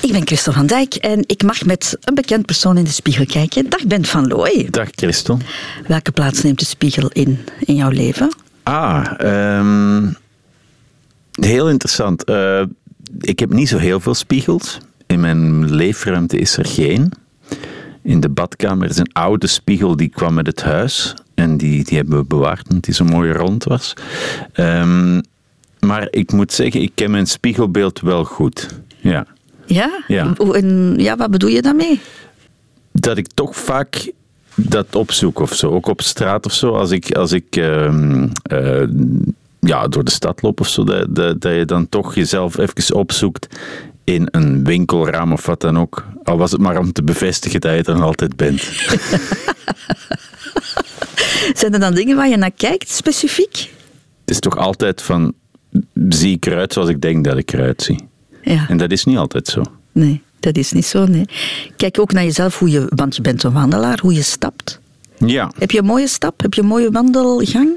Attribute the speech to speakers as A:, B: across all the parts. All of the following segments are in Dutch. A: Ik ben Christel van Dijk en ik mag met een bekend persoon in de spiegel kijken. Dag Bent van Looy.
B: Dag Christel.
A: Welke plaats neemt de spiegel in in jouw leven?
B: Ah, ehm, heel interessant. Eh, ik heb niet zo heel veel spiegels. In mijn leefruimte is er geen. In de badkamer is een oude spiegel die kwam met het huis. En die, die hebben we bewaard omdat die zo mooi rond was. Ehm, maar ik moet zeggen, ik ken mijn spiegelbeeld wel goed. Ja.
A: Ja?
B: Ja.
A: Hoe- En, ja, wat bedoel je daarmee?
B: dat ik toch vaak dat opzoek of zo. Ook op straat of zo. Als ik, als ik ehm, eh, ja, door de stad loop of zo. Dat, dat, dat je dan toch jezelf even opzoekt in een winkelraam of wat dan ook. Al was het maar om te bevestigen dat je er nog altijd bent.
A: Zijn er dan dingen waar je naar kijkt, specifiek?
B: Het is toch altijd van, zie ik eruit zoals ik denk dat ik eruit zie.
A: Ja.
B: En dat is niet altijd zo.
A: Nee, dat is niet zo, nee. Kijk ook naar jezelf, hoe je, want je bent een wandelaar, hoe je stapt.
B: Ja.
A: Heb je een mooie stap? Heb je een mooie wandelgang?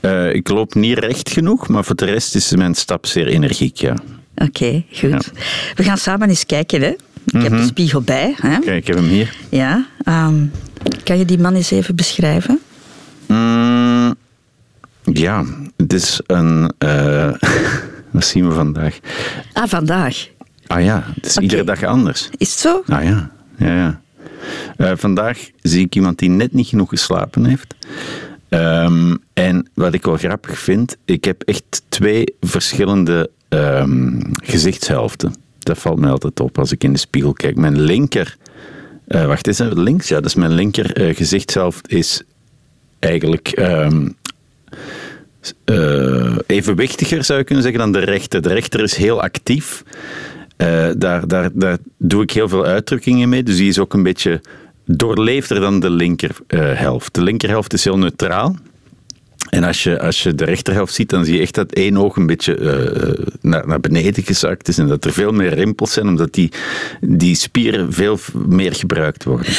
B: Eh, ik loop niet recht genoeg, maar voor de rest is mijn stap zeer energiek, ja.
A: Oké, goed. We gaan samen eens kijken, hè. Ik heb
B: Mhm.
A: de spiegel bij, hè.
B: Kijk, ik heb hem hier.
A: Ja. ehm, kan je die man eens even beschrijven?
B: Mm, ja, het is een. eh, wat zien we vandaag?
A: Ah, vandaag.
B: Ah ja, het is
A: Oké.
B: iedere dag anders.
A: Is het zo?
B: Ah ja, ja, ja. Eh, vandaag zie ik iemand die net niet genoeg geslapen heeft. Ehm, en wat ik wel grappig vind, ik heb echt twee verschillende ehm, gezichtshelften. Dat valt mij altijd op als ik in de spiegel kijk. Mijn linker, eh, wacht is het links? Ja, dat is mijn linker eh, gezichtshelft is eigenlijk ehm, s- eh, evenwichtiger zou je kunnen zeggen dan de rechter. De rechter is heel actief. Eh, daar, daar, daar doe ik heel veel uitdrukkingen mee. Dus die is ook een beetje doorleefder dan de linkerhelft. de linkerhelft is heel neutraal. En als je, als je de rechterhelft ziet, dan zie je echt dat één oog een beetje eh, naar, naar beneden gezakt is. En dat er veel meer rimpels zijn, omdat die, die spieren veel meer gebruikt worden.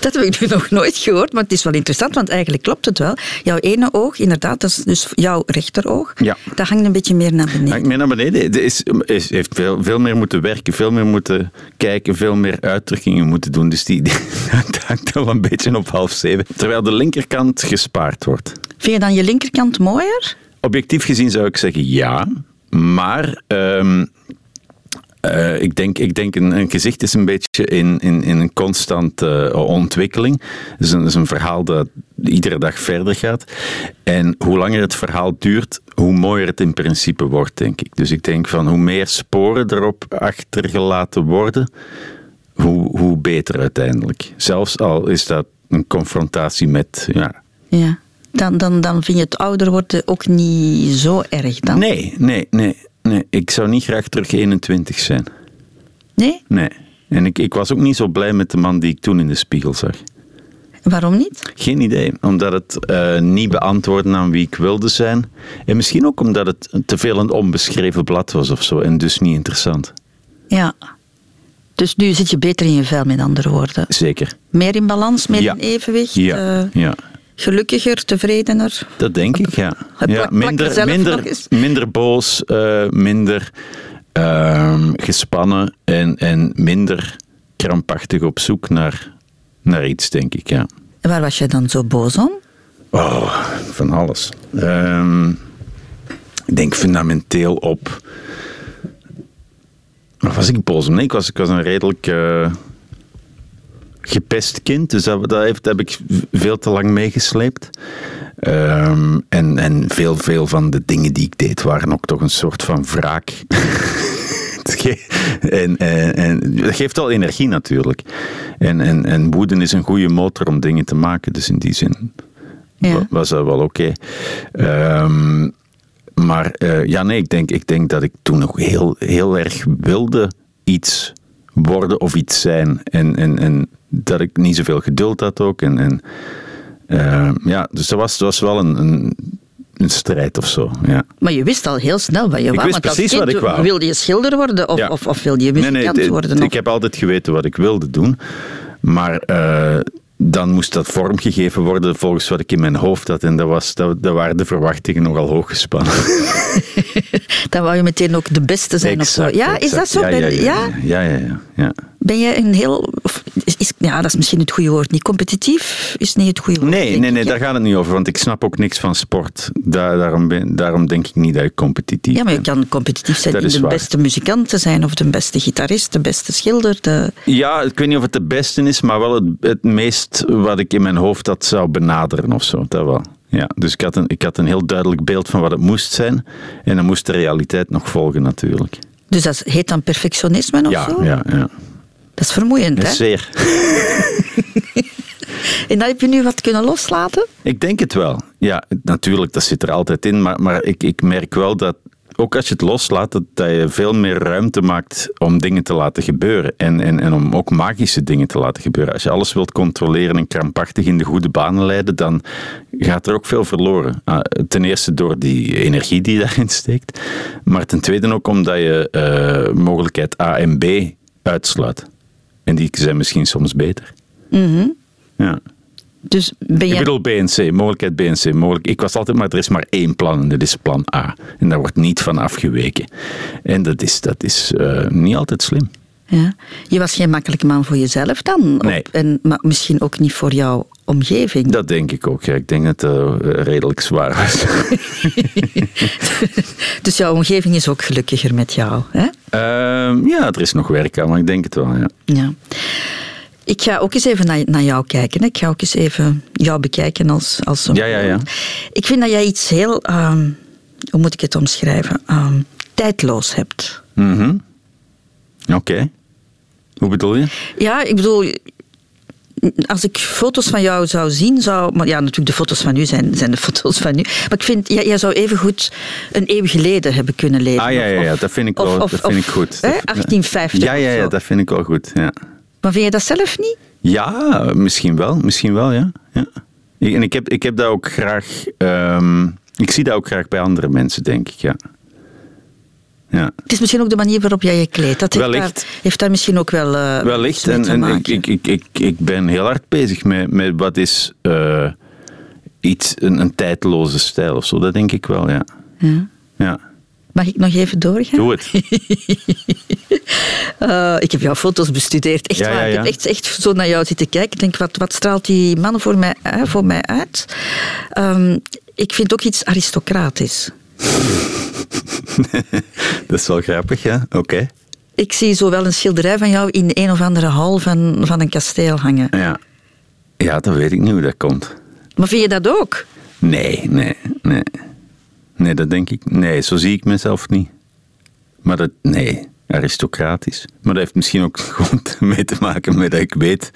A: Dat heb ik nu nog nooit gehoord, maar het is wel interessant, want eigenlijk klopt het wel. Jouw ene oog, inderdaad, dat is dus jouw rechteroog,
B: Ja.
A: dat hangt een beetje meer naar beneden.
B: Hangt meer naar beneden. Het is, is, heeft veel, veel meer moeten werken, veel meer moeten kijken, veel meer uitdrukkingen moeten doen. Dus die, die dat hangt al een beetje op half zeven. Terwijl de linkerkant gespaard wordt.
A: Vind je dan je linkerkant mooier?
B: Objectief gezien zou ik zeggen ja, maar ehm, eh, ik denk, ik denk een, een gezicht is een beetje in, in, in een constante eh, ontwikkeling. Het is een, is een verhaal dat iedere dag verder gaat. En hoe langer het verhaal duurt, hoe mooier het in principe wordt, denk ik. Dus ik denk van hoe meer sporen erop achtergelaten worden, hoe, hoe beter uiteindelijk. Zelfs al is dat een confrontatie met ja,
A: Ja. Dan, dan, dan vind je het ouder worden ook niet zo erg dan?
B: Nee, nee, nee, nee. Ik zou niet graag terug 21 zijn.
A: Nee?
B: Nee. En ik, ik was ook niet zo blij met de man die ik toen in de spiegel zag.
A: Waarom niet?
B: Geen idee, omdat het eh, niet beantwoordde aan wie ik wilde zijn. En misschien ook omdat het te veel een onbeschreven blad was of zo en dus niet interessant.
A: Ja. Dus nu zit je beter in je vel, met andere woorden.
B: Zeker.
A: Meer in balans, meer
B: Ja.
A: in evenwicht,
B: Ja,
A: eh,
B: ja.
A: gelukkiger, tevredener.
B: dat denk ik, ja.
A: plak-
B: ja
A: plak er
B: minder,
A: zelf nog
B: minder,
A: eens.
B: minder boos, eh, minder ehm, gespannen en, en minder krampachtig op zoek naar, naar iets, denk ik, ja.
A: En waar was jij dan zo boos om?
B: Oh, van alles. Ehm, ik denk fundamenteel op. Waar was ik boos om? Nee, ik was, ik was een redelijk eh, gepest kind. Dus dat, dat, heeft, dat heb ik v- veel te lang meegesleept. Ehm, en en veel, veel van de dingen die ik deed waren ook toch een soort van wraak. Het ge- en, en, en dat geeft al energie natuurlijk. En, en, en woeden is een goede motor om dingen te maken. Dus in die zin
A: Ja.
B: wa- was dat wel oké. Ehm, maar eh, ja, nee, ik denk, ik denk dat ik toen nog heel, heel erg wilde iets worden of iets zijn. En, en, en dat ik niet zoveel geduld had ook. En, en, eh, ja, dus dat was, dat was wel een, een, een strijd of zo. Ja.
A: Maar je wist al heel snel wat je wou.
B: wist
A: want als
B: precies
A: kind
B: wat ik wou.
A: Wilde je schilder worden of,
B: Ja.
A: of, of wilde je
B: Nee,
A: muzikant
B: nee, dit-
A: worden?
B: Ik
A: Of,
B: heb altijd geweten wat ik wilde doen. Maar eh, dan moest dat vormgegeven worden volgens wat ik in mijn hoofd had. En dat was, dat, dat waren de verwachtingen nogal hoog gespannen.
A: Dan wou je meteen ook de beste zijn
B: Exact,
A: of zo. Ja, is dat
B: exact.
A: zo?
B: Ja,
A: Ben-
B: ja, ja. ja, ja, ja, ja.
A: Ben jij een heel... of is- is- ja, dat is misschien het goede woord. Niet competitief is niet het goede woord.
B: Nee,
A: denk
B: nee,
A: ik,
B: nee,
A: hè?
B: daar gaat het niet over, want ik snap ook niks van sport. Daar, daarom, ben, daarom denk ik niet dat ik competitief
A: Ja, maar je
B: ben.
A: kan competitief zijn
B: Dat
A: in
B: is
A: de
B: waar.
A: beste muzikant te zijn, of de beste gitarist, de beste schilder. De...
B: Ja, ik weet niet of het de beste is, maar wel het, het meest wat ik in mijn hoofd dat zou benaderen of zo. Dat wel. Ja, dus ik had, een, ik had een heel duidelijk beeld van wat het moest zijn. En dan moest de realiteit nog volgen natuurlijk.
A: Dus dat heet dan perfectionisme of
B: ja,
A: zo?
B: ja, ja.
A: Dat is vermoeiend, hè?
B: Zeer.
A: En dat heb je nu wat kunnen loslaten?
B: Ik denk het wel. Ja, natuurlijk, dat zit er altijd in. Maar, maar ik, ik merk wel dat, ook als je het loslaat, dat, dat je veel meer ruimte maakt om dingen te laten gebeuren. En, en, en om ook magische dingen te laten gebeuren. Als je alles wilt controleren en krampachtig in de goede banen leiden, dan gaat er ook veel verloren. Ah, Ten eerste door die energie die je daarin steekt. Maar ten tweede ook omdat je eh, mogelijkheid A en B uitsluit. En die zijn misschien soms beter. Ja.
A: Dus ben
B: Ik
A: jij...
B: bedoel BNC, mogelijkheid BNC. Mogelijk, ik was altijd maar, er is maar één plan en dat is plan A. En daar wordt niet van afgeweken. En dat is, dat is eh, niet altijd slim.
A: Ja. Je was geen makkelijke man voor jezelf dan? op-
B: Nee.
A: en, maar misschien ook niet voor jouw omgeving.
B: Dat denk ik ook. Ja. Ik denk dat het redelijk zwaar was.
A: Dus jouw omgeving is ook gelukkiger met jou, hè?
B: Ehm, ja, er is nog werk aan, maar ik denk het wel. Ja.
A: Ja. Ik ga ook eens even naar, naar jou kijken. hè. Ik ga ook eens even jou bekijken als... als een-
B: Ja, ja, ja.
A: Ik vind dat jij iets heel... ehm, hoe moet ik het omschrijven? Ehm, tijdloos hebt.
B: Mhm. Oké. Hoe bedoel je?
A: Ja, ik bedoel... Als ik foto's van jou zou zien, zou... Maar ja, natuurlijk, de foto's van nu zijn, zijn de foto's van nu. Maar ik vind, jij, jij zou evengoed een eeuw geleden hebben kunnen leven.
B: Ah ja, ja, ja
A: Of-
B: dat vind ik
A: of-
B: wel
A: of-
B: dat vind
A: of,
B: ik goed.
A: hè,
B: Dat-
A: 1850
B: Ja, ja,
A: of
B: ja,
A: zo.
B: dat vind ik wel goed. Ja.
A: Maar vind je dat zelf niet?
B: Ja, misschien wel. Misschien wel, ja. ja. Ik- En ik heb, ik heb dat ook graag... ehm, ik zie dat ook graag bij andere mensen, denk ik, ja. Ja,
A: Het is misschien ook de manier waarop jij je kleedt. Dat heeft,
B: Wellicht.
A: Daar, heeft daar misschien ook wel eh, iets
B: wellicht.
A: mee
B: En,
A: te
B: en
A: maken.
B: ik, ik, ik, ik, ik ben heel hard bezig met, met wat is eh, iets, een, een tijdloze stijl of zo. Dat denk ik wel, ja.
A: Ja.
B: ja.
A: Mag ik nog even doorgaan?
B: Doe het.
A: Eh, ik heb jouw foto's bestudeerd, echt
B: Ja,
A: waar.
B: ja,
A: Ik heb
B: ja.
A: echt, echt zo naar jou zitten kijken. Ik denk, wat, wat straalt die man voor mij, eh, voor mij uit? Ehm, ik vind ook iets aristocratisch.
B: Dat is wel grappig, ja. Oké.
A: Ik zie zo wel een schilderij van jou in een of andere hal van, van een kasteel hangen.
B: Ja. ja, dan weet ik niet hoe dat komt.
A: Maar vind je dat ook?
B: Nee, nee, nee. Nee, dat denk ik. Nee, zo zie ik mezelf niet. Maar dat, nee, aristocratisch. Maar dat heeft misschien ook gewoon mee te maken met dat ik weet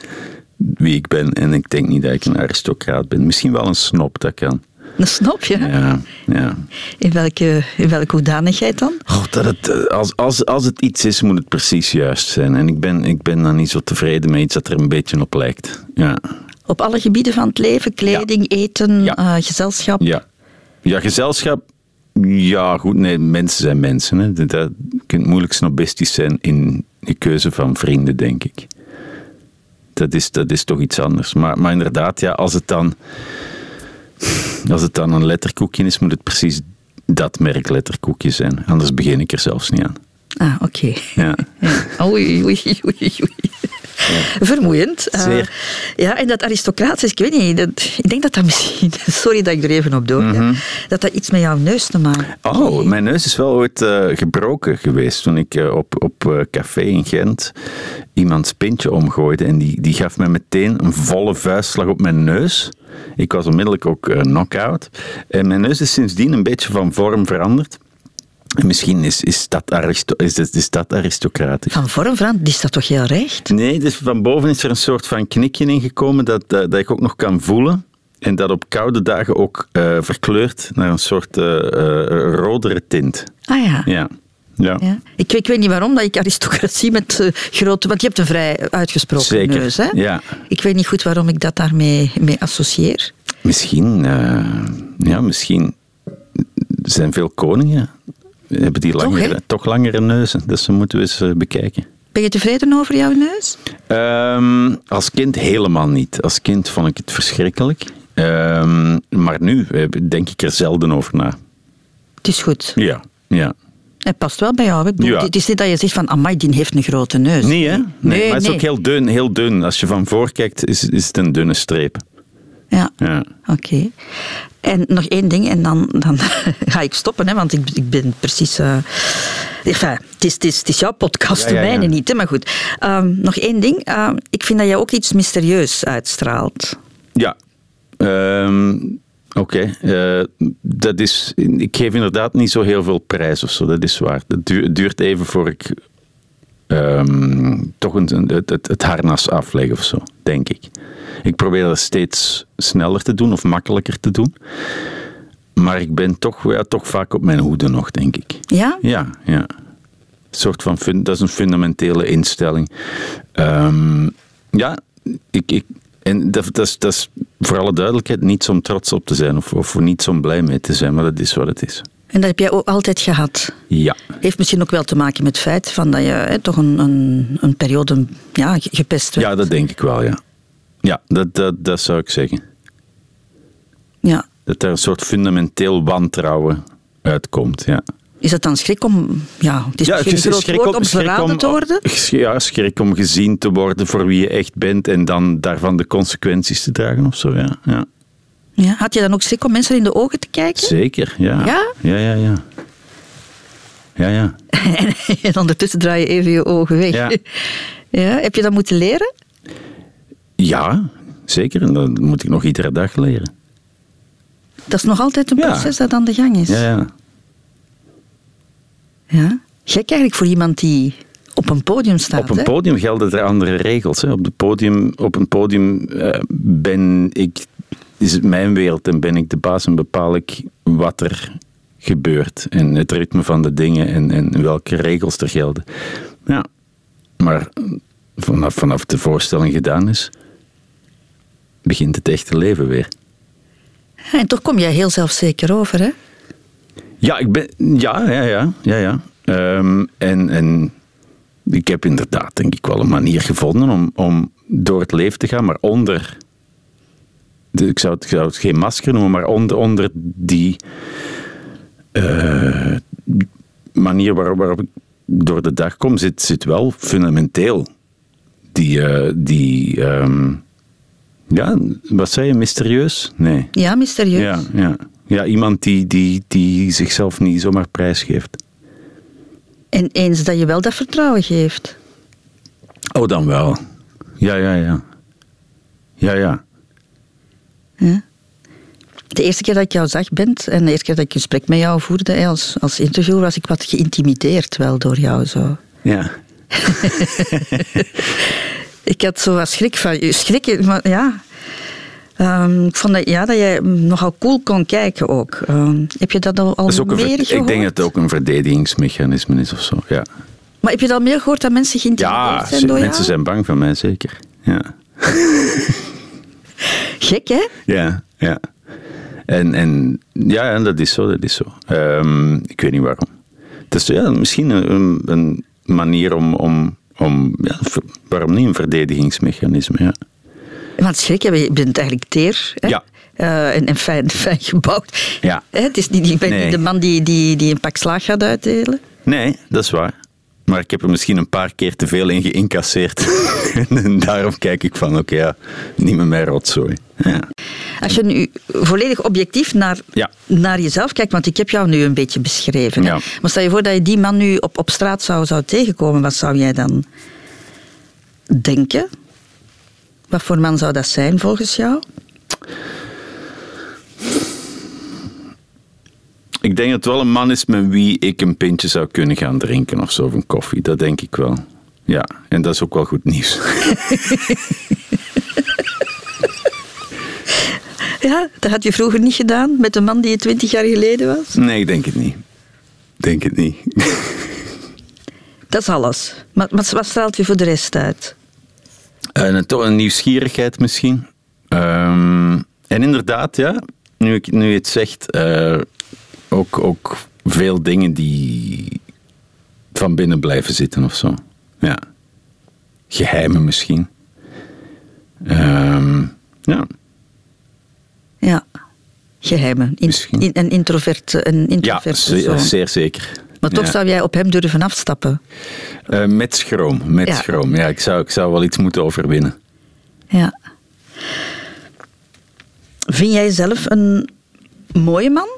B: wie ik ben. En ik denk niet dat ik een aristocraat ben. Misschien wel een snop, dat kan.
A: Dat snap je.
B: Ja, ja.
A: In, welke, in welke hoedanigheid dan?
B: God, dat het, eh, als, als, als het iets is, moet het precies juist zijn. En ik ben, ik ben dan niet zo tevreden met iets dat er een beetje op lijkt. Ja,
A: Op alle gebieden van het leven, kleding, eten,
B: Ja.
A: eh, gezelschap.
B: ja. ja gezelschap. Ja, goed. Nee, mensen zijn mensen. Hè. Dat, dat- je kunt moeilijk snobistisch zijn in de keuze van vrienden, denk ik. Dat is, dat is toch iets anders. Maar, maar inderdaad, ja, als, het dan, als het dan een letterkoekje is, moet het precies dat merk letterkoekje zijn. Anders begin ik er zelfs niet aan.
A: Ah, oké.
B: Ja.
A: Ja. Mm. Oei, oei, oei, oei. Vermoeiend. Eh,
B: Zeer.
A: ja, en dat aristocratisch, ik weet niet, dat, ik denk dat dat misschien, sorry dat ik er even op doorga, dat dat iets met jouw neus te maken
B: Mhm. Oh, mijn neus is wel ooit eh, gebroken geweest toen ik eh, op, op eh, café in Gent iemands pintje omgooide. En die, die gaf mij meteen een volle vuistslag op mijn neus. Ik was onmiddellijk ook eh, knock-out. En mijn neus is sindsdien een beetje van vorm veranderd. En misschien is, is, dat, aristo is, dat, is dat aristocratisch.
A: Van vorm veranderd, die staat toch heel recht?
B: Nee, dus van boven is er een soort van knikje ingekomen dat, eh, dat, dat ik ook nog kan voelen. En dat op koude dagen ook eh, verkleurt naar een soort eh, eh, rodere tint.
A: Ah ja.
B: Ja. Ja.
A: Ja. Ik, ik weet niet waarom dat ik aristocratie met eh, grote... Want je hebt een vrij uitgesproken
B: Zeker,
A: neus, hè?
B: ja.
A: Ik weet niet goed waarom ik dat daarmee mee associeer.
B: Misschien, eh, ja, misschien zijn veel koningen hebben die langere,
A: hè?
B: toch langere neuzen. Dus dat moeten we eens eh, bekijken.
A: Ben je tevreden over jouw neus?
B: Ehm, als kind helemaal niet. Als kind vond ik het verschrikkelijk. Ehm, maar nu eh, denk ik er zelden over na.
A: Het is goed.
B: Ja. ja.
A: Het past wel bij jou. hè. Ik bedoel,
B: Ja.
A: Het is niet dat je zegt van, amai, die heeft een grote neus.
B: Nee, hè? Nee,
A: Nee,
B: maar het is
A: nee.
B: ook heel dun, heel dun. Als je van voor kijkt, is, is het een dunne streep.
A: Ja,
B: Ja.
A: oké. En nog één ding en dan, dan ga ik stoppen, hè, want ik, ik ben precies... eh, enfin, het, is, het, is, het is jouw podcast,
B: Ja,
A: de
B: ja, ja.
A: mijne niet, hè, maar goed. Ehm, nog één ding. Ehm, ik vind dat jij ook iets mysterieus uitstraalt.
B: Ja. Ehm, Oké. Eh, dat is. ik geef inderdaad niet zo heel veel prijs of zo, dat is waar. Het duurt, duurt even voor ik ehm, toch een, een- het, het, het harnas afleg of zo, denk ik. Ik probeer dat steeds sneller te doen of makkelijker te doen. Maar ik ben toch, ja, toch vaak op mijn hoede nog, denk ik.
A: Ja?
B: Ja, ja. Een soort van fun- dat is een fundamentele instelling. Ehm, ja, ik, ik, en dat, dat, is, dat is voor alle duidelijkheid niets om trots op te zijn of, of niet zo blij mee te zijn, maar dat is wat het is.
A: En dat heb jij ook altijd gehad.
B: Ja.
A: Heeft misschien ook wel te maken met het feit van dat je hè, toch een, een, een periode ja, ge- gepest werd.
B: ja, dat denk ik wel, ja. Ja, dat, dat, dat zou ik zeggen.
A: Ja.
B: Dat daar een soort fundamenteel wantrouwen uitkomt, ja.
A: Is dat dan schrik om... Ja, het is
B: Ja,
A: misschien een groot
B: schrik
A: woord
B: om-
A: om
B: schrik
A: verraden
B: om-
A: te worden.
B: Ja, schrik om gezien te worden voor wie je echt bent en dan daarvan de consequenties te dragen of zo, ja. ja.
A: Ja. Had je dan ook schrik om mensen in de ogen te kijken?
B: Zeker, ja.
A: Ja?
B: Ja, ja, ja. Ja, ja.
A: En ondertussen draai je even je ogen weg.
B: Ja.
A: Ja, heb je dat moeten leren?
B: Ja, zeker. En dat moet ik nog iedere dag leren.
A: Dat is nog altijd een
B: Ja.
A: proces dat aan de gang is.
B: Ja, ja.
A: Ja. Gek eigenlijk voor iemand die op een podium staat.
B: Op een
A: hè?
B: podium gelden er andere regels. Hè. Op, de podium, op een podium eh, ben ik, is het mijn wereld en ben ik de baas en bepaal ik wat er gebeurt. En het ritme van de dingen en, en welke regels er gelden. Ja, maar vanaf, vanaf de voorstelling gedaan is, begint het echte leven weer.
A: Ja, En toch kom jij heel zelfzeker over, hè?
B: Ja, ik ben, ja, ja, ja. ja, ja. Ehm, en, en ik heb inderdaad, denk ik, wel een manier gevonden om, om door het leven te gaan, maar onder. de- ik, zou het, ik zou het geen masker noemen, maar onder, onder die eh, manier waarop, waarop ik door de dag kom, zit, zit wel fundamenteel die. eh, die ehm, ja, wat zei je, mysterieus? Nee.
A: Ja, mysterieus.
B: Ja, ja. ja iemand die, die, die zichzelf niet zomaar prijsgeeft.
A: En eens dat je wel dat vertrouwen geeft.
B: Oh, dan wel. Ja, ja, ja. Ja, ja.
A: Ja. De eerste keer dat ik jou zag bent en de eerste keer dat ik een gesprek met jou voerde hè, als, als interview, was ik wat geïntimideerd wel door jou zo.
B: Ja.
A: Ik had zo wat schrik van je. Schrik, maar ja. Ehm, ik vond dat, ja, dat jij nogal cool kon kijken ook. Ehm, heb je dat al, al
B: Dat is ook een
A: meer
B: verd-
A: gehoord?
B: ik denk dat het ook een verdedigingsmechanisme is of zo. Ja,
A: Maar heb je dat al meer gehoord dat mensen geïntimideerd
B: ja
A: zijn
B: ze-
A: door
B: mensen
A: jou?
B: zijn bang van mij, zeker. Ja.
A: Gek, hè?
B: Ja, ja. En, en ja, en dat is zo, dat is zo. Ehm, ik weet niet waarom. Het is ja, misschien een, een manier om, om, om ja, ver- waarom niet een verdedigingsmechanisme, ja.
A: Want schrik, hè, je bent eigenlijk teer. Hè?
B: Ja.
A: Eh, en en fijn, fijn gebouwd.
B: Ja.
A: Hè, het is niet, ik ben
B: Nee.
A: niet de man die, die, die een pak slaag gaat uitdelen.
B: Nee, dat is waar. Maar ik heb er misschien een paar keer te veel in geïncasseerd. en daarom kijk ik van, oké, ja, niet meer mijn rotzooi. Ja.
A: Als je nu volledig objectief naar,
B: Ja.
A: naar jezelf kijkt, want ik heb jou nu een beetje beschreven. hè.
B: Ja.
A: Maar stel je voor dat je die man nu op, op straat zou, zou tegenkomen, wat zou jij dan denken? Wat voor man zou dat zijn volgens jou?
B: Ik denk dat het wel een man is met wie ik een pintje zou kunnen gaan drinken of zo, of een koffie. Dat denk ik wel. Ja, en dat is ook wel goed nieuws.
A: Ja, dat had je vroeger niet gedaan met de man die je twintig jaar geleden was.
B: nee, ik denk het niet. Denk het niet.
A: Dat is alles. Maar, maar wat straalt je voor de rest uit?
B: Eh, En een, toch een nieuwsgierigheid misschien. Ehm, en inderdaad, ja, nu, ik, nu je het zegt, eh, ook, ook veel dingen die van binnen blijven zitten of zo. Ja. geheimen misschien. Ehm, ja,
A: Ja. Geheimen. In-
B: Misschien.
A: in- een introverte, een
B: ja
A: introverte
B: ze-
A: zoon.
B: zeer zeker.
A: Maar toch
B: Ja.
A: zou jij op hem durven afstappen.
B: Eh, met schroom, met
A: Ja.
B: schroom. Ja, ik zou, ik zou wel iets moeten overwinnen.
A: Ja. Vind jij zelf een mooie man?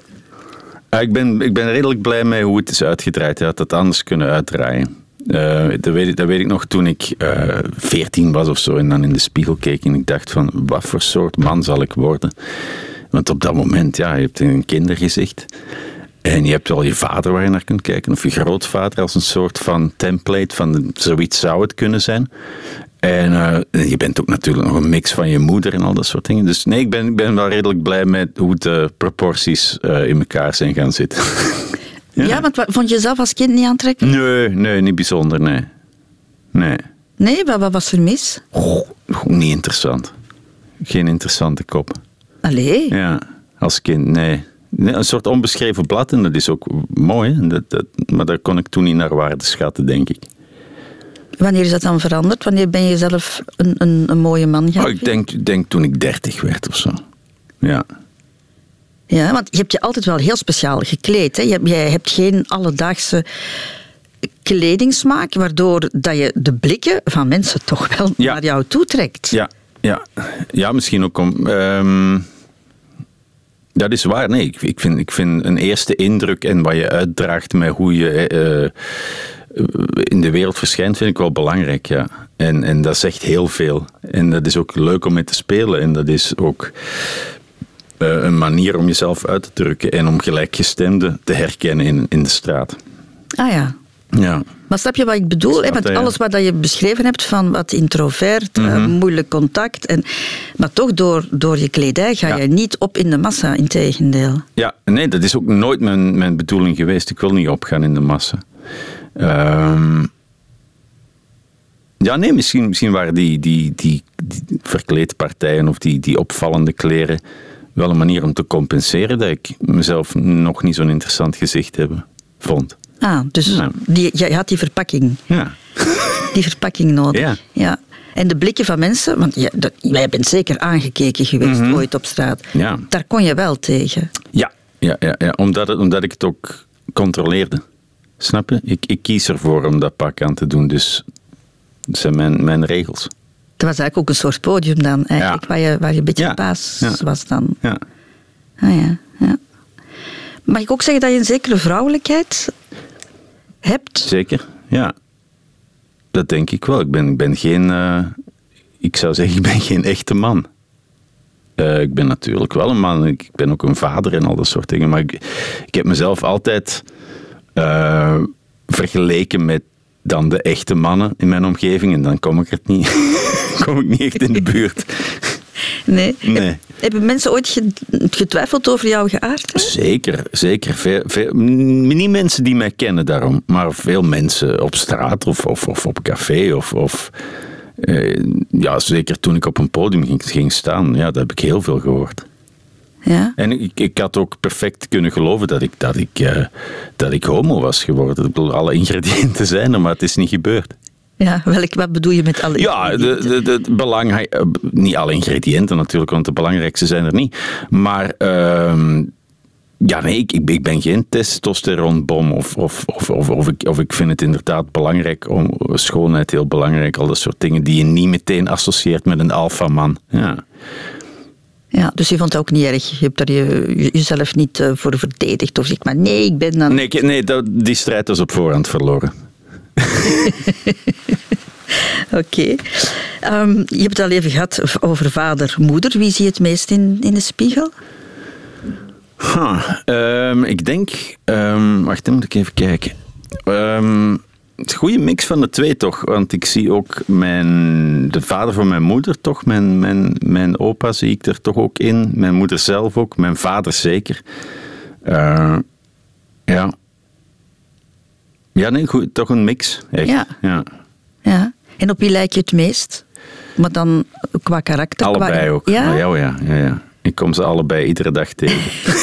B: Ah, ik, ben, ik ben redelijk blij mee hoe het is uitgedraaid. Hij had dat anders kunnen uitdraaien. Eh, dat, weet ik, dat weet ik nog toen ik eh, veertien was of zo en dan in de spiegel keek en ik dacht van wat voor soort man zal ik worden? Want op dat moment, ja, je hebt een kindergezicht en je hebt wel je vader waar je naar kunt kijken of je grootvader als een soort van template van zoiets zou het kunnen zijn. En eh, je bent ook natuurlijk nog een mix van je moeder en al dat soort dingen. Dus nee, ik ben, ik ben wel redelijk blij met hoe de proporties eh, in elkaar zijn gaan zitten.
A: Ja, want wat- vond je zelf als kind niet aantrekkelijk?
B: Nee, nee, niet bijzonder, nee. Nee,
A: Nee, wat, wat was er mis?
B: Goh, goh, niet interessant. Geen interessante kop.
A: Allee.
B: Ja, als kind, nee. Nee, Een soort onbeschreven blad en dat is ook mooi. hè. Dat, dat, maar daar kon ik toen niet naar waarde schatten, denk ik.
A: Wanneer is dat dan veranderd? Wanneer ben je zelf een, een, een mooie man gaan
B: Oh, ik denk, denk toen ik dertig werd of zo. Ja.
A: Ja, want je hebt je altijd wel heel speciaal gekleed. Hè? Je hebt- Jij hebt geen alledaagse kledingsmaak, waardoor dat je de blikken van mensen toch wel
B: Ja.
A: naar jou toetrekt.
B: Ja, ja. ja misschien ook om. ehm, dat is waar. Nee, ik, ik, vind, ik vind een eerste indruk en wat je uitdraagt met hoe je eh, eh, in de wereld verschijnt, vind ik wel belangrijk. Ja. En, en dat zegt heel veel. En dat is ook leuk om mee te spelen. En dat is ook eh, een manier om jezelf uit te drukken en om gelijkgestemden te herkennen in, in de straat.
A: Ah ja.
B: Ja.
A: Maar snap je wat ik bedoel?
B: Ik
A: hè?
B: snap
A: Want
B: dat, ja. Mhm.
A: alles wat dat je beschreven hebt van wat introvert, eh, moeilijk contact. En, maar toch, door, door je kledij ga
B: Ja.
A: je niet op in de massa, integendeel.
B: Ja, nee, dat is ook nooit mijn, mijn bedoeling geweest. Ik wil niet opgaan in de massa. Ehm, ja, nee, misschien, misschien waren die, die, die, die verkleedpartijen of die, die opvallende kleren wel een manier om te compenseren dat ik mezelf nog niet zo'n interessant gezicht hebben, vond.
A: Ah, dus
B: Ja.
A: die, jij had die verpakking.
B: Ja.
A: die verpakking nodig.
B: Ja.
A: En de blikken van mensen, want ja, dat, jij bent zeker aangekeken geweest ooit op straat.
B: Mhm. Ja.
A: Daar kon je wel tegen.
B: Ja, ja, ja, ja. Omdat, het, omdat ik het ook controleerde. Snap je? Ik, ik kies ervoor om dat pak aan te doen, dus dat zijn mijn, mijn regels.
A: Dat was eigenlijk ook een soort podium dan, eigenlijk,
B: Ja.
A: waar, je, waar je een beetje
B: Ja.
A: baas
B: Ja.
A: was dan.
B: Ja.
A: Ah, ja. Ja. Mag ik ook zeggen dat je een zekere vrouwelijkheid hebt?
B: Zeker, ja. Dat denk ik wel. Ik ben, ik ben geen... eh, ik zou zeggen, ik ben geen echte man. Eh, ik ben natuurlijk wel een man. Ik ben ook een vader en al dat soort dingen. Maar ik, ik heb mezelf altijd eh, vergeleken met dan de echte mannen in mijn omgeving. En dan kom ik het niet, kom ik niet echt in de buurt.
A: Nee.
B: Nee.
A: Heb- Hebben mensen ooit ge- getwijfeld over jouw geaardheid?
B: Zeker, zeker. Veel, veel, m- niet mensen die mij kennen daarom, maar veel mensen op straat of, of, of op café. Of, of, eh, ja, zeker toen ik op een podium ging, ging staan, ja, dat heb ik heel veel gehoord.
A: Ja.
B: En ik, ik had ook perfect kunnen geloven dat ik, dat, ik, eh, dat ik homo was geworden. Ik bedoel, alle ingrediënten zijn er, maar het is niet gebeurd.
A: ja welk, wat bedoel je met alle
B: Ja, de, de, de- het belang, eh, niet alle ingrediënten natuurlijk, want de belangrijkste zijn er niet. Maar ehm, ja, nee, ik, ik, ik ben geen testosteronbom of, of, of, of, of, ik, of ik vind het inderdaad belangrijk, om, schoonheid heel belangrijk, al dat soort dingen die je niet meteen associeert met een alfaman. Ja.
A: Ja, dus je vond het ook niet erg. Je hebt daar je, je- jezelf niet eh, voor verdedigd. Of zeg maar, nee, ik ben dan...
B: Nee, ik- nee dat, die strijd was op voorhand verloren.
A: Oké. Ehm, je hebt het al even gehad v- over vader, moeder. Wie zie je het meest in, in de spiegel?
B: Ha, ehm, ik denk. ehm, wacht, dan moet ik even kijken. Ehm het goede mix van de twee toch? Want ik zie ook mijn, de vader van mijn moeder toch. Mijn, mijn, mijn opa zie ik er toch ook in. Mijn moeder zelf ook. Mijn vader zeker. Eh, ja. Ja, nee, goed, toch een mix. Echt.
A: Ja.
B: ja.
A: Ja. En op wie lijk je het meest? Maar dan qua karakter? qua-
B: Allebei ook.
A: Ja?
B: Ja, oh ja, ja, ja. Ik kom ze allebei iedere dag tegen.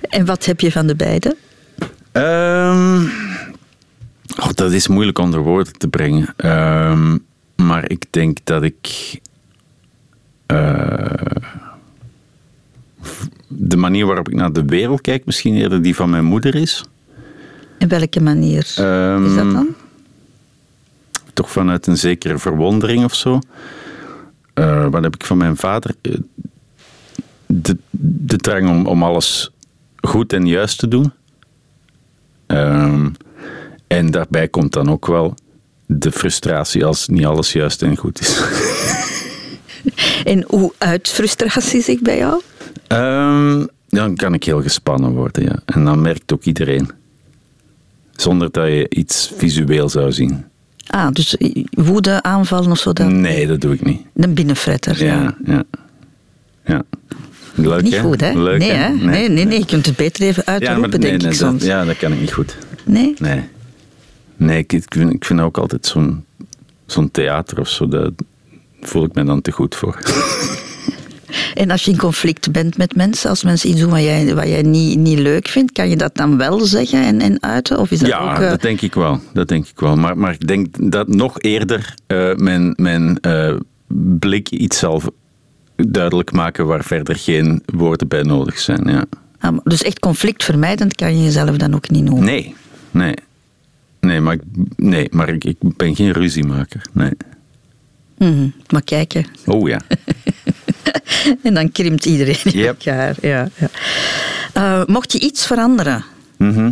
A: En wat heb je van de beide?
B: Ehm, Oh, dat is moeilijk onder woorden te brengen. Ehm, maar ik denk dat ik. eh, de manier waarop ik naar de wereld kijk, misschien eerder die van mijn moeder is.
A: In welke manier
B: Ehm,
A: is dat dan?
B: Toch vanuit een zekere verwondering of zo. Eh, wat heb ik van mijn vader? Eh, De, de drang om, om alles goed en juist te doen. Ehm, en daarbij komt dan ook wel de frustratie als niet alles juist en goed is.
A: En hoe uit frustratie zich bij jou?
B: Ehm, dan kan ik heel gespannen worden, ja. En dan merkt ook iedereen. Zonder dat je iets visueel zou zien.
A: Ah, dus woede aanvallen of zo. Dat,
B: Nee, dat doe ik niet.
A: Een binnenfretter.
B: Mm. Ja, ja. ja. Leuk,
A: Niet
B: hè?
A: goed, hè?
B: Leuk,
A: nee, hè? Nee, nee, nee, je kunt het beter even
B: Ja,
A: uitroepen,
B: maar, nee,
A: denk
B: nee,
A: ik
B: dat,
A: soms.
B: ja, dat kan ik niet goed.
A: Nee?
B: Nee. Nee, ik, ik vind, ik vind ook altijd zo'n zo'n theater of zo, daar voel ik me dan te goed voor.
A: En als je in conflict bent met mensen, als mensen iets doen wat jij, wat jij niet, niet leuk vindt, kan je dat dan wel zeggen en, en uiten? Of is dat
B: ja,
A: ook... eh,
B: dat denk ik wel. Dat denk ik wel. Maar, maar ik denk dat nog eerder eh, mijn, mijn eh, blik iets zal duidelijk maken waar verder geen woorden bij nodig zijn. Ja.
A: ah, maar- dus echt conflictvermijdend kan je jezelf dan ook niet noemen.
B: Nee, nee. Nee, maar, ik, nee, maar ik, ik ben geen ruziemaker. Nee.
A: Mhm, maar kijken.
B: Oh ja.
A: En dan krimpt iedereen in
B: Yep.
A: elkaar. Ja, ja. Eh, mocht je iets veranderen
B: Mhm.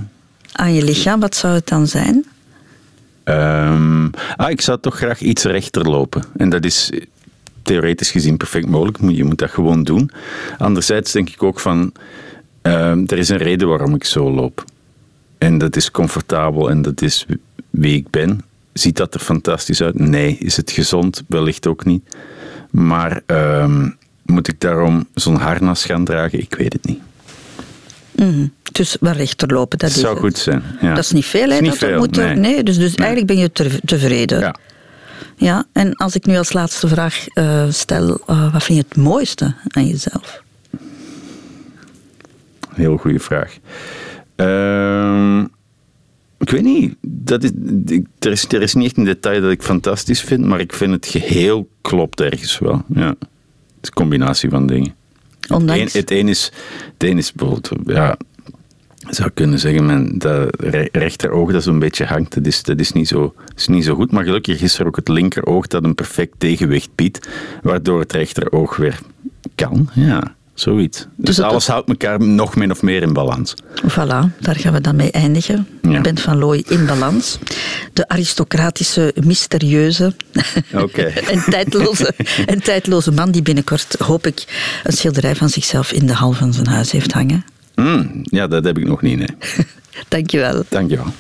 A: aan je lichaam, wat zou het dan zijn?
B: Ehm, ah, ik zou toch graag iets rechter lopen. En dat is eh, theoretisch gezien perfect mogelijk. Moet- Je moet dat gewoon doen. Anderzijds denk ik ook van... ehm, er is een reden waarom ik zo loop. En dat is comfortabel en dat is wie ik ben. Ziet dat er fantastisch uit? Nee. Is het gezond? Wellicht ook niet. Maar ehm, moet ik daarom zo'n harnas gaan dragen? Ik weet het niet.
A: Mhm. Dus wel rechter lopen, dat
B: Het
A: is
B: zou
A: het.
B: goed zijn. Ja.
A: Dat is niet veel, hè?
B: Is niet
A: dat er eh.
B: veel,
A: moet er-
B: nee.
A: dus, dus eigenlijk ben je te- tevreden.
B: Ja.
A: Ja, en als ik nu als laatste vraag eh, stel, eh, wat vind je het mooiste aan jezelf?
B: Heel goede vraag. Ehm, ik weet niet. Dat is, ik- er, is, er is niet echt een detail dat ik fantastisch vind, maar ik vind het geheel klopt ergens wel. Ja. Het is een combinatie van dingen.
A: Ondanks-
B: Het, een, het een is, het een is bijvoorbeeld, ja, je zou kunnen zeggen, mijn dat re- rechteroog dat zo'n beetje hangt, dat is, dat, is niet zo, dat is niet zo goed. Maar gelukkig is er ook het linkeroog dat een perfect tegenwicht biedt, waardoor het rechteroog weer kan. Ja, zoiets. Dus,
A: het-
B: alles houdt elkaar nog min of meer in balans.
A: Voilà, daar gaan we dan mee eindigen.
B: Ja.
A: Bent van Looy in balans. De aristocratische, mysterieuze
B: Oké.
A: en, tijdloze, en tijdloze man die binnenkort, hoop ik, een schilderij van zichzelf in de hal van zijn huis heeft hangen.
B: Mm, ja, dat heb ik nog niet, nee.
A: Dankjewel.
B: Dankjewel.